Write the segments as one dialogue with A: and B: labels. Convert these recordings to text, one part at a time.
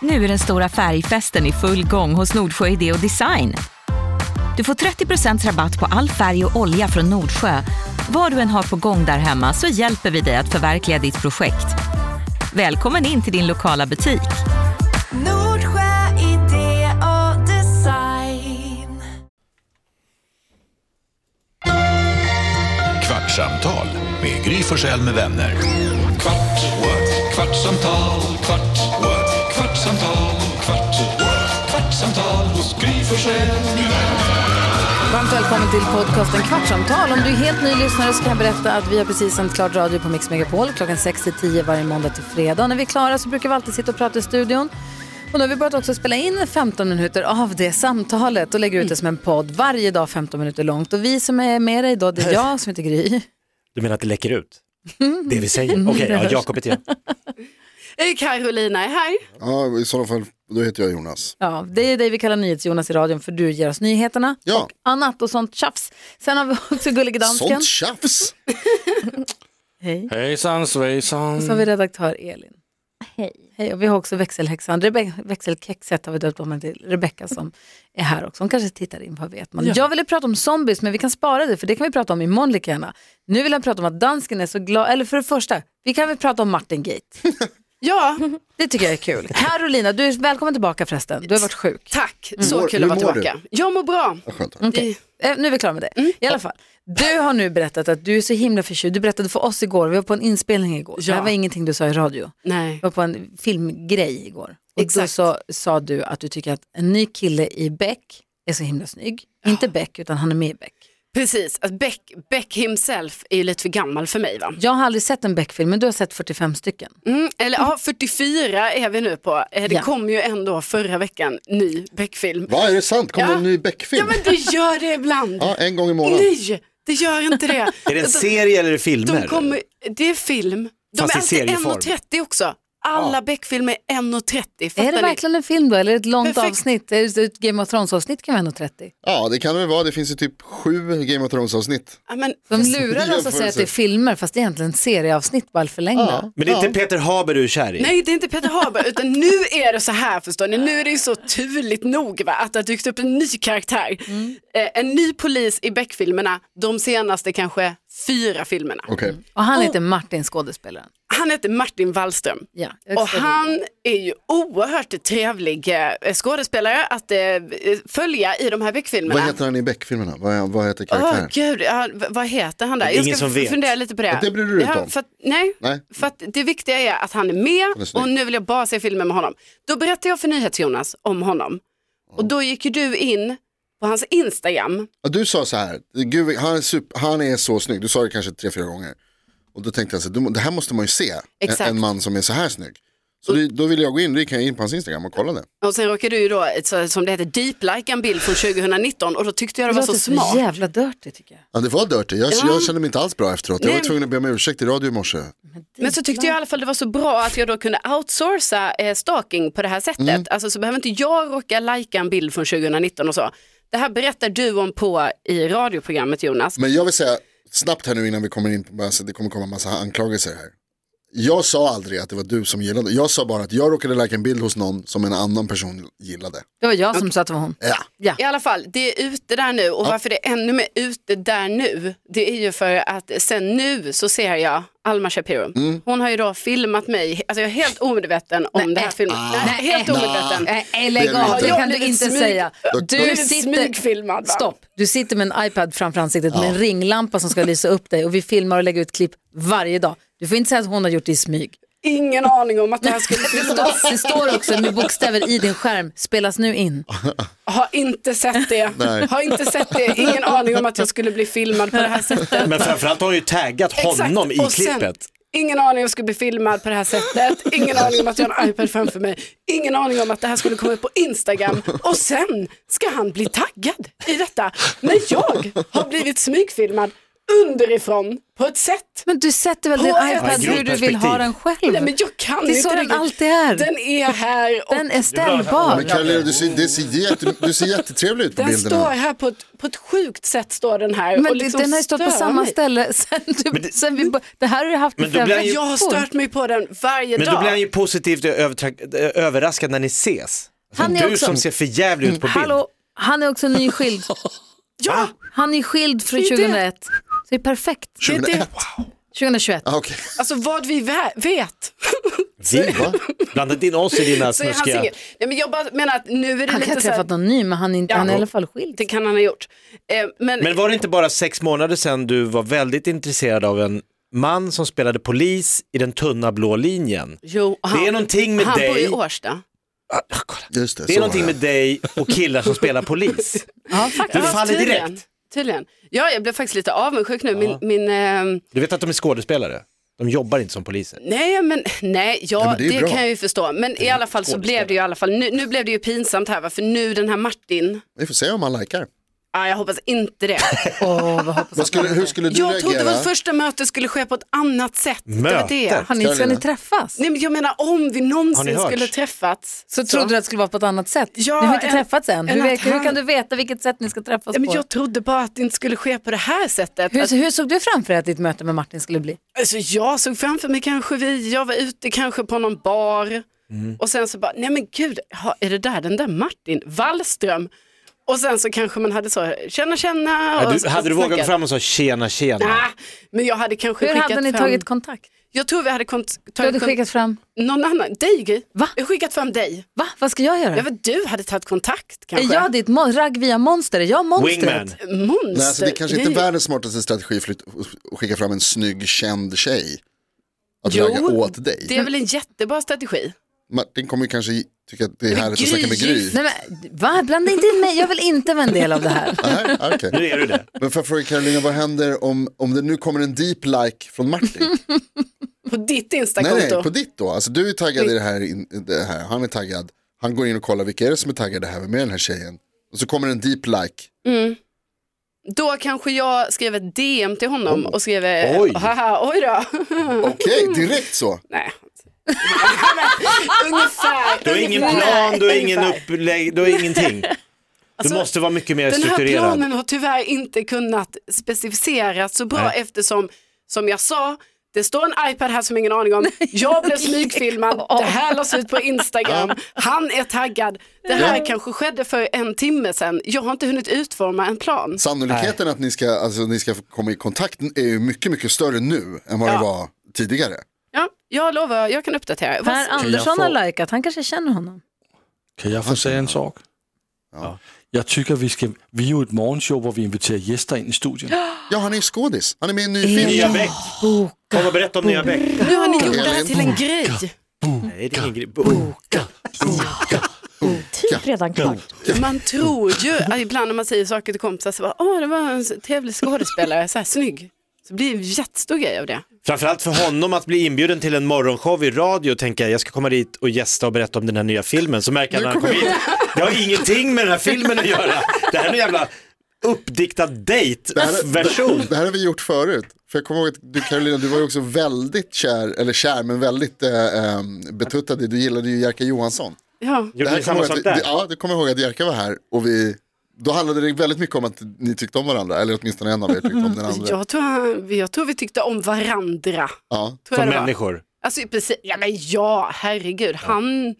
A: Nu är den stora färgfesten i full gång hos Nordsjö Idé och Design. Du får 30% rabatt på all färg och olja från Nordsjö. Vad du än har på gång där hemma så hjälper vi dig att förverkliga ditt projekt. Välkommen in till din lokala butik.
B: Nordsjö idé och design.
C: Kvartsamtal med Gry Forssell med vänner. Kvart, what? kvartsamtal, kvart, what? kvartsamtal, kvart, what? kvartsamtal hos Gry Forssell med vänner.
D: Varmt välkommen till podcasten Kvartsamtal. Om du är helt ny lyssnare så kan jag berätta att vi har precis sänt klart radio på Mix Megapol klockan 6 till 10 varje måndag till fredag. Och när vi är klara så brukar vi alltid sitta och prata i studion. Och nu har vi börjat också spela in 15 minuter av det samtalet och lägger ut det som en podd varje dag 15 minuter långt. Och vi som är med dig då, det är jag som heter Gry.
E: Du menar att det läcker ut? Det vi säger? Okej, ja, Jakob heter jag.
F: Carolina är här.
G: Ja, i sådana fall, då heter jag Jonas.
D: Ja, det är dig vi kallar NyhetsJonas i radion för du ger oss nyheterna
G: Ja.
D: och annat och sånt tjafs. Sen har vi också Gullige Dansken.
G: Sånt tjafs!
D: Hej.
E: Hejsan svejsan.
D: Och så har vi redaktör Elin. Hej. Hej och vi har också växelhäxan, Rebe- växelkexet har vi döpt om henne till, Rebecka som är här också. Hon kanske tittar in, vad vet man. Jag ville prata om zombies men vi kan spara det för det kan vi prata om imorgon lika gärna. Nu vill jag prata om att dansken är så glad, eller för det första, vi kan väl prata om Martin Gate.
F: Ja,
D: Det tycker jag är kul. Carolina, du är välkommen tillbaka förresten, du har varit sjuk.
F: tack. Så
G: Hur mår-
F: kul att vara
G: hur mår
F: tillbaka. Jag mår bra.
G: Vad skönt.
D: Okej, eh, nu är vi klara med det. I alla fall, du har nu berättat att du är så himla förtjust. Du berättade för oss igår, vi var på en inspelning igår. Det här
F: Ja.
D: var ingenting du sa i radio.
F: Nej.
D: Jag var på en filmgrej igår. Och då
F: Exakt.
D: så, sa du att du tycker att en ny kille i Beck är så himla snygg. Inte Beck, utan han är med i Beck.
F: Precis, att Beck, Beck himself är ju lite för gammal för mig va?
D: Jag har aldrig sett en Beck-film, men du har sett 45 stycken.
F: Mm, eller ja, 44 är vi nu på. Eh, Det
D: Ja.
F: kom ju ändå förra veckan ny Beck-film.
G: Va, är det sant? Kommer
F: Ja.
G: det en ny
F: Ja
G: Beck-film?
F: men det gör det ibland.
G: Ja, en gång i månaden.
F: Nej, det gör inte det. Alltså,
E: Är det en serie eller är det filmer?
F: De kommer, det är film. De
E: Fast i
F: är alltid
E: serieform.
F: 1,30 också. Alla
E: Ja.
F: Beck-filmer är 1,30.
D: är det
F: fattar ni?
D: verkligen en film då, eller ett långt
F: Perfekt.
D: avsnitt? Är det ett Game of Thrones-avsnitt kan vara 1,30.
G: Ja, det kan det väl vara. Det finns ju typ sju Game of Thrones-avsnitt.
F: Ja, men,
D: De lurar oss att
G: Jämförelse.
D: säga att det är filmer, fast det är egentligen serieavsnitt, bara förlängda.
G: Ja.
E: Men det är inte Peter Haber du är kär i?
F: Nej, det är inte Peter Haber, utan nu är det så här förstår ni, nu är det ju så turligt nog va, att det har dykt upp en ny karaktär. Eh, en ny polis i Beck-filmerna, de senaste kanske fyra filmerna.
G: Okej.
D: Och han heter Martin, skådespelaren.
F: Han heter Martin Wallström.
D: Ja,
F: Och han är ju oerhört trevlig eh, skådespelare att eh, följa i de här
G: Vad
F: Beck-filmerna.
G: heter han i Beck-filmerna? Vad, är- vad heter
F: Åh
G: karaktären?
F: Ah, gud, ja, v- vad heter han där?
E: Det är ingen som vet.
F: fundera lite på det.
G: Ja, det bryr du dig inte om.
F: För att, nej,
G: Nej.
F: för att det viktiga är att han är
G: Han är
F: med
G: snygg.
F: och nu vill jag bara se filmen med honom. Då berättade jag för NyhetsJonas om honom och då gick ju du in på hans Instagram.
G: Ja, du sa så här, Gud, han, är super, han är så snygg. Du sa det kanske tre, fyra gånger. Och då tänkte jag så här, du må- det här måste man ju se. En,
F: Exakt.
G: en man som är så här snygg. Så det, då ville jag gå in, då gick jag in på hans Instagram och kollade.
F: Och sen råkade du ju då, ett så- som det heter, deep-like en bild från 2019 och då tyckte jag det var så smart.
D: så jävla dirty tycker jag.
G: Ja, det var dirty. Jag, jag kände mig inte alls bra efteråt. Jag
F: Nej,
G: var
F: men-
G: tvungen att be om ursäkt i radio i morse.
F: Men så tyckte jag i alla fall det var så bra att jag då kunde outsourca eh, stalking på det här sättet. Alltså så behöver inte jag råka lajka en bild från 2019 och så. Det här berättar du om på i radioprogrammet Jonas.
G: Men jag vill säga snabbt här nu innan vi kommer in på, alltså, det kommer komma massa anklagelser här. Jag sa aldrig att det var du som gillade, jag sa bara att jag råkade lägga en bild hos någon som en annan person gillade.
D: Det var jag som sa att det var hon.
G: Ja,
F: I alla fall, det är ute där nu och varför det är ännu mer ute där nu, det är ju för att sen nu så ser jag Alma Shapiro. Hon har ju då filmat mig, alltså jag är helt omedveten om det här filmen.
D: äh,
F: Nej, helt omedveten.
D: Nej,
G: Det
D: lägg
G: är det
D: av,
G: inte.
D: det
G: Jag
D: kan du
F: blev
D: inte
F: smyg-
D: säga.
G: Jag
D: Du
G: blev
D: sitter...
F: smygfilmad. va?
D: Stopp, du sitter med en iPad framför ansiktet med en ringlampa som ska lysa upp dig och vi filmar och lägger ut klipp varje dag. Du får inte säga att hon har gjort det i smyg.
F: Ingen aning om att det här skulle filmas.
D: Det står också med bokstäver i din skärm, spelas nu in.
F: Har inte sett det.
G: Nej.
F: Har inte sett det. Ingen aning om att jag skulle bli filmad på det här sättet.
E: Men framförallt har hon ju taggat honom i
F: och sen-
E: klippet.
F: Ingen aning om jag skulle bli filmad på det här sättet. Ingen aning om att jag har en iPad framför mig. Ingen aning om att det här skulle komma upp på Instagram. Och sen ska han bli taggad i detta. När jag har blivit smygfilmad underifrån på ett sätt.
D: Men du sätter väl din
F: På ett-
D: iPad
E: Ja,
D: hur du vill ha den själv?
F: Nej men jag kan
D: det är
F: inte
D: så den
F: riktigt.
D: alltid är. Den,
F: Den är här och den,
D: är ställbar.
G: Men Kalle, du ser, det ser jätte, du ser jättetrevlig ut på
F: står
G: bilderna.
F: här på ett, på ett sjukt sätt står den här. och
D: Men
F: liksom
D: den har ju stått på
F: stör
D: samma
F: mig.
D: ställe sen, du,
E: Men det-
D: sen vi bör- Det här har du haft i
E: Men då blir
D: fem
E: han ju-
F: Jag har
D: veckor.
F: stört mig på den varje
E: Men
F: dag.
E: då blir han ju positivt övertra- eh, överraskad när ni ses.
D: Han är
E: du
D: också-
E: som ser för jävlig ut på bild.
F: Mm,
D: Hallå, han är också nyskild.
F: ja,
D: Han är skild från
F: Det är det.
D: 2001. Så det är perfekt.
F: det är det.
D: 2021.
G: Ah, okej.
F: Alltså vad vi vä- vet.
E: Vi, va? Blandat in oss i dina
F: Så är han
E: snuskiga...
F: singel. Nej, men jag bara menar att nu är det
D: Han kan
F: lite
D: ha
F: så här,
D: träffat någon ny, men han är, inte,
F: Ja.
D: han är i alla fall skild.
F: det kan han ha gjort. Eh, men,
E: Men var det inte bara sex månader sedan du var väldigt intresserad av en man som spelade polis i den tunna blå linjen?
F: jo, han,
E: det är någonting med
F: han bor i
E: dig.
F: Årsta.
E: Ah, kolla.
G: Just det,
E: Det är
G: så
E: någonting
G: var
E: med dig och killar som spelar polis.
D: Ja, faktiskt.
E: Du faller
F: tydligen.
E: direkt.
F: Tydligen. Ja, jag blev faktiskt lite avundsjuk nu. Min, min, ehm,
E: Du vet att de är skådespelare? De jobbar inte som poliser.
F: nej, men, nej, ja,
G: men det
F: det,
G: är bra.
F: kan jag ju förstå. Men i alla fall så blev det ju i alla fall, nu, nu blev det ju pinsamt här, va? för nu den här Martin,
G: Vi får se om han likar.
F: ah, jag hoppas inte det.
D: Åh, vad hoppas
G: Vad skulle, hur skulle du
F: jag trodde
G: reagera?
F: vårt första möte skulle ske på ett annat sätt.
E: Möte?
F: Det var det.
D: Har ni, ska ni
G: Karolina.
D: träffas?
F: Nej, men jag menar om vi
E: Har
F: någonsin
E: ni hört?
F: skulle träffats.
D: Så trodde du att det skulle vara på ett annat sätt?
F: Ja,
D: ni har inte
F: en-
D: träffats än. Hur,
F: en
D: vet,
F: att han-
D: hur kan du veta vilket sätt ni ska träffas
F: Ja, men
D: på?
F: jag trodde bara att det inte skulle ske på det här sättet.
D: Hur,
F: Att,
D: hur såg du framför dig att ditt möte med Martin skulle bli?
F: alltså, jag såg framför mig kanske vi, jag var ute kanske på någon bar
E: Mm.
F: och sen så bara, nej men gud, ha, är det där den där Martin Wallström? Och sen så kanske man hade så, känna känna.
E: Ja,
F: och
E: du,
F: så-
E: hade du
F: snackat.
E: vågat gå fram och sa tjena tjena?
F: Nej, men jag hade kanske
D: Hur
F: skickat
D: hade ni
F: fram,
D: tagit kontakt?
F: jag tror vi hade kont-
D: Du hade
F: tagit kon-
D: skickat fram,
F: någon annan, dig Gry.
D: Va?
F: Jag skickat fram dig.
D: va? Vad ska jag göra?
F: Jag vet, du hade tagit kontakt kanske.
D: är jag ditt mon- ragg via monster? Är jag monstret?
E: Wingman.
F: Monster.
G: Nej, alltså, det är kanske inte är
F: Nej.
G: världens smartaste strategi för att skicka fram en snygg känd tjej. Att
F: Jo,
G: ragga åt dig.
F: Det är väl en jättebra strategi.
G: Martin kommer ju kanske tycka att det är härligt att
F: Gry,
G: snacka med Gry.
D: Nej, men, va? Blanda inte in mig, jag vill inte vara en del av det här.
G: Nej, ah, okej.
E: Nu är du det.
G: Men får jag fråga Carolina, vad händer om, om det nu kommer en deep like från Martin?
F: På ditt
G: nej,
F: Instakonto.
G: nej, på ditt då. Alltså du är taggad i det här, in, det här, han är taggad. Han går in och kollar vilka är det som är taggade här med den här tjejen. Och så kommer en deep like.
F: Då kanske jag skrev ett DM till honom och skrev
E: Oj.
F: oj, Haha, oj då.
G: Okej, direkt så.
F: Nej. ungefär.
E: Du har ingen
F: ungefär.
E: plan, du har ingen
F: Ungefär. Alltså,
E: upplägg, du har ingenting. Du måste vara mycket mer
F: Den här
E: strukturerad.
F: planen har tyvärr inte kunnat specificeras så bra
E: Nej.
F: eftersom, som jag sa, det står en iPad här som ingen aning om. Jag blev smygfilmad, det här lades ut på Instagram, han är taggad. Det här kanske skedde för en timme sedan. Jag har inte hunnit utforma en plan.
G: Sannolikheten att ni ska, alltså, ni ska komma i kontakt är ju mycket, mycket större nu än vad det
F: Ja.
G: var tidigare.
F: Ja, jag lovar, jag kan uppdatera. Vad-
D: Per Andersson har likat, han kanske känner honom.
H: Kan jeg få sige en sorg? Jeg tykker, vi skal... Vi er jo et morgenshow, hvor vi inviterer gæster ind i studiet.
G: Ja, han är ju skådis. Han är med i en ny film.
E: Nya Bäck. Kom och berätta om Nya Bäck.
F: Nu har ni gjort det här
G: Elin.
F: till en grej.
E: Nej, det är ingen grej. Bo- Oh,
D: Mm, typ
F: Man tror ju, att ibland när man säger saker till kompisar så bara, åh det var en trevlig skådespelare, så här snygg. Så blir det en jättestor grej av det.
E: Framförallt för honom att bli inbjuden till en morgonshow i radio och tänka jag ska komma dit och gästa och berätta om den här nya filmen. Så märker han när han kommer hit, det har ingenting med den här filmen att göra. Det här är en jävla uppdiktad
G: här är-
E: dejtversion.
G: Det här har vi gjort förut. För jag kommer ihåg att du Carolina, du var ju också väldigt kär, eller kär men väldigt eh, em, betuttad. i- Du gillade ju Jerka Johansson.
F: Ja.
E: Gjorde ni
G: kommer
E: samma
G: jag ihåg
E: sak
G: att, det-
E: där?
G: ja, du kommer ihåg att Jerka var här och vi, då handlade det väldigt mycket om att ni tyckte om varandra. Eller åtminstone en av er tyckte om den andra.
F: Jag tror, han- jag tror vi tyckte om varandra.
G: Ja.
F: Tror jag
E: Som
F: det var.
E: människor.
F: Alltså, precis, ja, men ja, herregud. Han,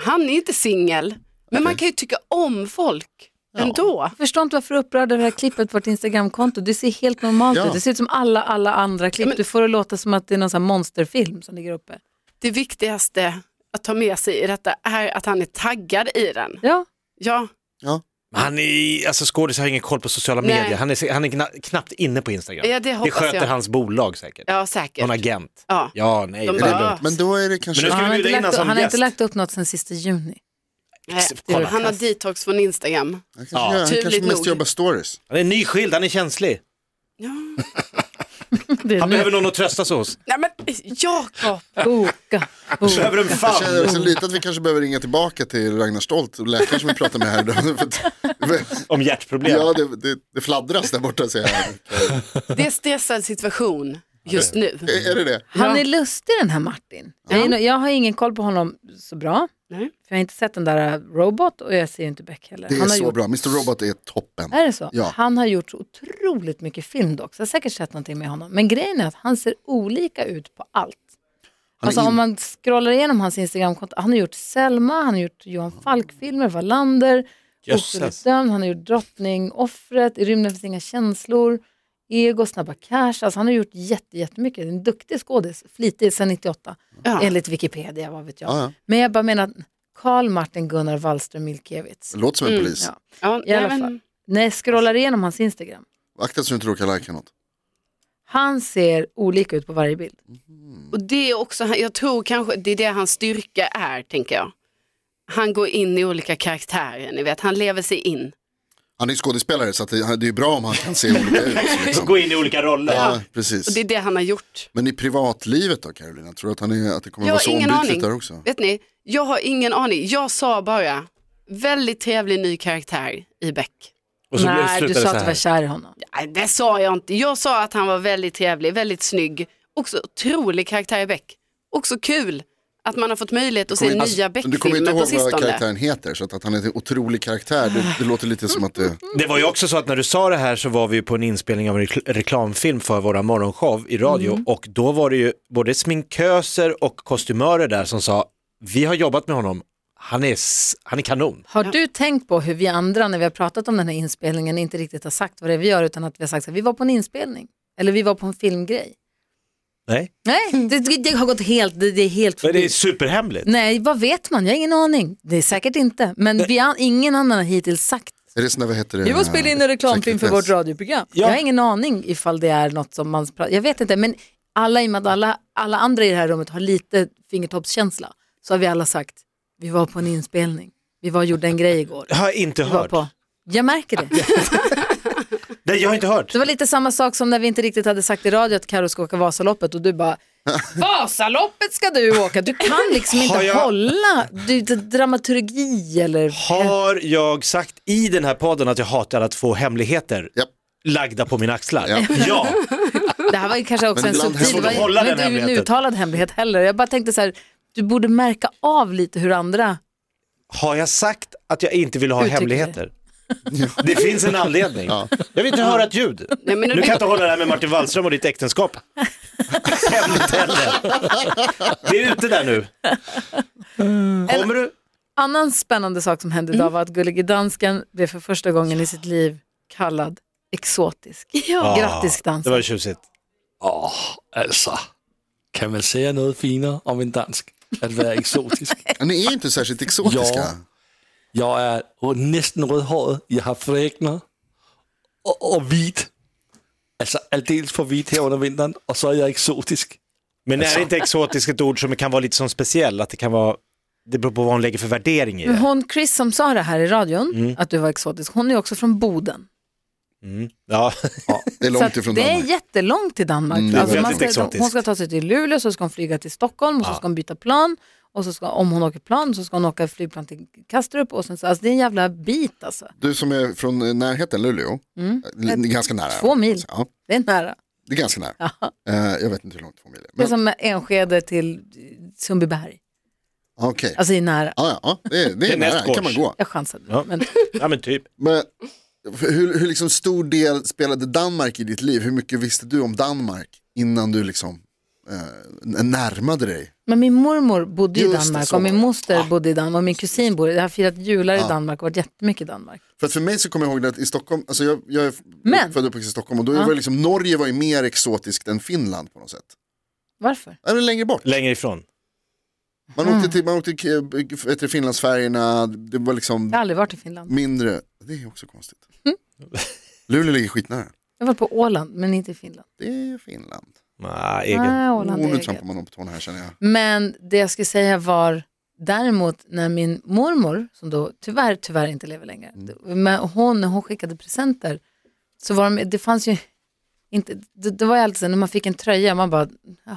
F: han är inte singel, men man kan ju tycka om folk ändå.
D: Jag förstår inte varför du är upprörd över det här klippet på vårt Instagramkonto. Det ser helt normalt
G: Ja.
D: ut. Det ser ut som alla, alla andra klipp. Du får det låta som att det är någon sån här monsterfilm som ligger uppe.
F: Det viktigaste att ta med sig i detta är att han är taggad i den.
D: Ja,
F: Ja,
E: Men Han är, alltså skådis har ingen koll på sociala
F: Nej.
E: medier. Han är, han är kna, knappt inne på Instagram.
F: Ja, det
E: det
F: hoppas
E: sköter
F: jag.
E: hans bolag säkert.
F: ja säkert.
E: Någon agent.
F: Ja.
E: Ja, nej,
F: De
E: det
F: bara,
E: är lugnt.
G: Men då är det
E: Ah. Men
G: kanske...
E: nu-
D: han, har inte
E: bjuda in
D: lagt,
E: honom som
D: han har inte
E: gäst.
D: lagt upp något sen sista juni.
F: Nej,
E: Kolla.
F: han har detox från Instagram.
G: Han kanske, han kanske
F: tydligt
G: mest
F: nog.
G: jobbar stories.
E: Han är nyskild, han är känslig.
D: Det
G: Mm.
D: är
E: Han behöver
D: nu.
E: någon att trösta sig hos.
F: Nej men Jakob,
D: Boka, boka.
E: Behöver en
G: Mm. Jag känner
E: famn.
G: också lite att vi kanske behöver ringa tillbaka till Ragnar Stolt och läkaren som vi pratade med här idag. För att-
E: Om hjärtproblem.
G: Ja, det, det, det fladdras där borta ser jag.
F: det är en stressad situation just nu.
G: Är, är det det?
D: Han är lustig den här Martin. Jag, är no- jag har ingen koll på honom så bra.
F: Nej.
D: För jag har inte sett den där uh, Robot och jag ser ju inte Beck heller.
G: Det är
D: Han har
G: så
D: gjort,
G: bra, Mr Robot är toppen.
D: Är det så?
G: Ja.
D: Han har gjort så otroligt mycket film dock. Så jag har säkert sett någonting med honom. Men grejen är att han ser olika ut på allt.
G: Han
D: alltså
G: är
D: om
G: in...
D: man scrollar igenom hans Instagramkonto. Han har gjort Selma, han har gjort Johan Falk-filmer, Wallander,
E: Jösses.
D: Oskyldigt dömd, han har gjort Drottning, Offret, I rymden finns inga känslor, Ego, Snabba Cash. Alltså han har gjort jätte, jättemycket. En duktig skådis, flitig sedan 98.
F: Ja.
D: Enligt Wikipedia, vad vet jag.
G: Ja, ja.
D: Men jag bara menar, Karl Martin Gunnar Wallström Milkiewicz.
G: Det låter som en
F: Mm,
G: polis.
D: ja.
F: Ja,
D: I alla
F: nej, men-
D: fall. När jag scrollar igenom hans Instagram,
G: Akta så du inte råkar lajka något.
D: han ser olika ut på varje bild.
F: Och det är också, jag tror kanske det är det hans styrka är, tänker jag. Han går in i olika karaktärer, ni vet, han lever sig in.
G: Han är ju skådespelare så att det, det är bra om han kan se olika ut. Liksom.
E: Gå in i olika roller.
G: Ja,
F: Och
G: precis.
F: det är det han har gjort.
G: Men i privatlivet då Carolina, tror du att, han är, att det kommer
F: Jag
G: vara
F: har
G: så
F: ingen
G: ombytligt
F: aning.
G: där också?
F: Vet ni, jag har ingen aning. Jag sa bara, väldigt trevlig ny karaktär i Beck.
E: Och så
D: Nej, du
E: slutar det
D: sa
E: så
D: att du var
E: här.
D: kär i honom.
F: Nej, det sa jag inte. Jag sa att han var väldigt trevlig, väldigt snygg. Också otrolig karaktär i Beck. Också kul att man har fått möjlighet att se
G: Kommer-
F: nya
G: Alltså, du kommer inte
F: Beck-filmer
G: ihåg
F: på
G: vad
F: sistone.
G: karaktären heter, så att, att han är en otrolig karaktär, det, det låter lite som att det...
E: Det var ju också så att när du sa det här så var vi ju på en inspelning av en rekl- reklamfilm för våra morgonshow i radio och då var det ju både sminköser och kostymörer där som sa vi har jobbat med honom, han är, s- han är kanon.
D: Har du tänkt på hur vi andra när vi har pratat om den här inspelningen inte riktigt har sagt vad det är vi gör utan att vi har sagt att vi var på en inspelning eller vi var på en filmgrej?
E: Nej,
D: Nej, det, det det har gått helt, det, det är helt
E: Men det är
D: förbi.
E: superhemligt.
D: Nej, vad vet man? Jag har ingen aning. Det är säkert inte, men vi har, ingen annan har hittills sagt.
G: Är det sådana, vad heter det?
D: Vi var spela in en reklamfilm för vårt
G: Sekretess.
D: radioprogram.
E: Ja.
D: Jag har ingen aning ifall det är något som man pratar, jag vet inte, men alla, i och med att alla, alla andra i det här rummet har lite fingertoppskänsla så har vi alla sagt, vi var på en inspelning, vi var och gjorde en grej igår.
E: Jag har inte
D: Vi var
E: hört.
D: på. Jag märker det.
E: Nej, jag har inte hört.
D: Det var lite samma sak som när vi inte riktigt hade sagt i radio att Karo ska åka Vasaloppet och du bara Vasaloppet ska du åka, du kan liksom inte
E: Har jag-
D: hålla du, d- dramaturgi eller...
E: Har jag sagt i den här podden att jag hatar att få hemligheter
G: Japp.
E: lagda på mina axlar?
G: Ja.
E: ja.
D: Det här var ju kanske också
G: Men
D: en
G: ibland
D: subtil,
G: får
D: det
G: du
D: var
E: hålla
D: det var
E: den
D: inte en
E: hemligheten.
D: uttalad hemlighet heller. Jag bara tänkte så här, du borde märka av lite hur andra...
E: Har jag sagt att jag inte vill ha
D: Uttryck
E: hemligheter? Det finns en anledning. Jag vill inte höra ett ljud.
F: Nej, men
E: Nu kan jag inte hålla det här med Martin Wallström och ditt äktenskap. Hemligt heller. Det är ute där nu. Kommer du?
D: Annan spännande sak som hände
G: Mm.
D: idag var att Gullige Dansken blev för första gången i sitt liv kallad exotisk. Ja. Grattis
E: Det
D: dansken.
E: var ju tjusigt.
H: Alltså, kan man säga något finare om en dansk? Att vara exotisk.
G: Ni är inte särskilt exotiska.
H: Ja. Jag är nästan rödhårig, jag har fräknar och, och vit. Alltså alldeles för vit här under vintern och så är jag exotisk.
E: Men är inte exotiskt ett ord som kan vara lite som speciell? Att det kan vara, det beror på vad hon lägger för värdering i
D: Men
E: det.
D: Hon, Chris som sa det här i radion,
G: Mm.
D: att du var exotisk, hon är också från Boden.
E: Ja.
G: Det är
D: Så
G: långt
D: att
G: ifrån
D: det
G: Danmark.
D: är jättelångt till Danmark.
G: Mm, det är
D: Alltså, man
E: väldigt
D: ska,
E: exotiskt.
D: hon ska ta sig till Luleå, så ska hon flyga till Stockholm, och så ska hon byta plan. Och så ska, om hon åker plan så ska hon åka flygplan till Kastrup. Och sen, så, alltså, det är en jävla bit alltså.
G: Du som är från eh, närheten, Luleå, L- ganska nära.
D: Mm. Två mil.
G: Ja,
D: Det är nära.
G: det är ganska nära. Eh, jag vet inte hur långt två mil är.
D: Det är
G: Men,
D: som Enskede till Sundbyberg.
G: Okej,
D: Alltså det är nära.
G: ja, ja, det är, det
E: Det
G: är
E: är
G: nära,
E: nästgårds.
G: kan man gå.
D: Jag chansade.
E: Ja.
D: Men,
E: ja, men typ.
G: Men hur, hur liksom stor del spelade Danmark i ditt liv? Hur mycket visste du om Danmark innan du liksom eh, n- närmade dig?
D: men min mormor bodde i
G: Just det,
D: Danmark
G: så
D: och min
G: var det. Ah.
D: moster bodde i Danmark och min kusin bodde Jag har firat jular i Danmark och varit jättemycket i Danmark.
G: För att för mig så kommer jag ihåg det att i Stockholm, alltså jag, jag är
D: Men-
G: född och uppvuxen i Stockholm och då var det liksom, Norge var ju mer exotiskt än Finland på något sätt.
D: Varför?
G: Eller längre bort.
E: Längre ifrån.
G: Man
D: Mm.
G: åkte till, man åkte till eh, vet du, Finlandsfärjorna, det var liksom
D: Jag har aldrig varit i Finland.
G: mindre, det är också konstigt.
D: Mm.
G: Luleå ligger skitnära,
D: Jag har varit på Åland men inte i Finland.
G: det är Finland.
E: Nej, egen.
D: Nej,
G: Oh,
D: Åland är
G: nu
D: eget.
G: trampar man om på tårna här känner jag.
D: Men det jag skulle säga var däremot när min mormor, som då tyvärr, tyvärr
G: Mm.
D: inte lever längre, men hon, när hon skickade presenter så var de, det fanns ju Inte, det, det var ju alltid så när man fick en tröja, man bara,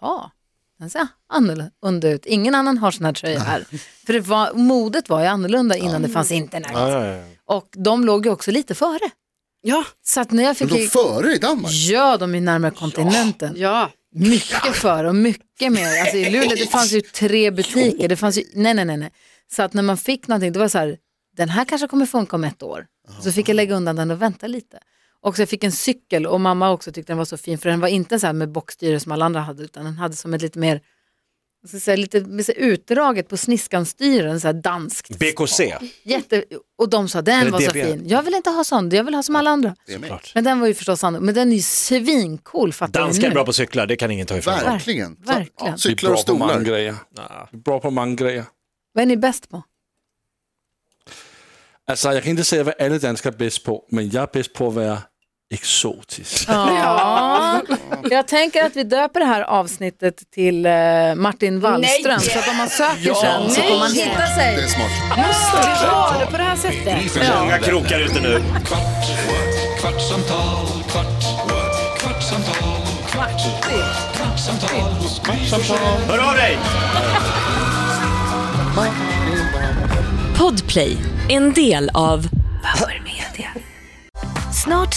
D: jaha, den ser annorlunda ut. Ingen annan har sån här tröja här. För det var, modet var ju annorlunda innan det fanns internet. Och de låg ju också lite före.
F: Ja,
D: Så att när jag
G: Men
D: fick...
G: de
D: ju-
G: före i Danmark?
D: Ja, de är närmare kontinenten.
F: ja.
D: Mycket för och mycket mer. Alltså i Luleå det fanns ju tre butiker. Det fanns ju, nej, nej, nej, nej. Så att när man fick någonting, det var så här, den här kanske kommer funka om ett år. Så fick jag lägga undan den och vänta lite. Och så jag fick en cykel och mamma också tyckte den var så fin för den var inte så här med bockstyre som alla andra hade utan den hade som ett lite mer, jag ska säga, lite med så här utdraget på sniskanstyren, så här danskt.
E: BKC.
D: Jätte, och de sa den
E: Eller
D: var så
E: DBR.
D: fin, jag vill inte ha sån, jag vill ha som alla andra. Men den var ju förstås annorlunda, men den är ju svincool fattar du
E: Danskar är
D: nu.
E: bra på cyklar, det kan ingen ta ifrån dem.
G: Verkligen.
D: Verkligen.
H: Vi är
G: Cyklar
H: bra
G: och
H: på många
G: stolar.
H: grejer. Vi är bra på många grejer.
D: Vad är ni bäst på?
H: Alltså, jag kan inte säga vad alla danskar är bäst på, men jag är bäst på att vara exotisk.
D: Ja. Jag tänker att vi döper det här avsnittet till eh, Martin Wallström.
F: Nej.
D: Så att om man söker sen så
F: Nej.
D: kommer man hitta
G: Det är
D: sig.
G: smart.
F: Måste vi ha det på det här
C: Med
F: sättet?
C: Gry Forssell med
E: Många
C: vänner.
E: krokar ute nu.
C: Kvart, what? kvartsamtal, kvart, what? kvartsamtal, kvart, what? kvartsamtal hos Gry Forssell.
E: Hör av dig!
I: Podplay, en del av
A: Snart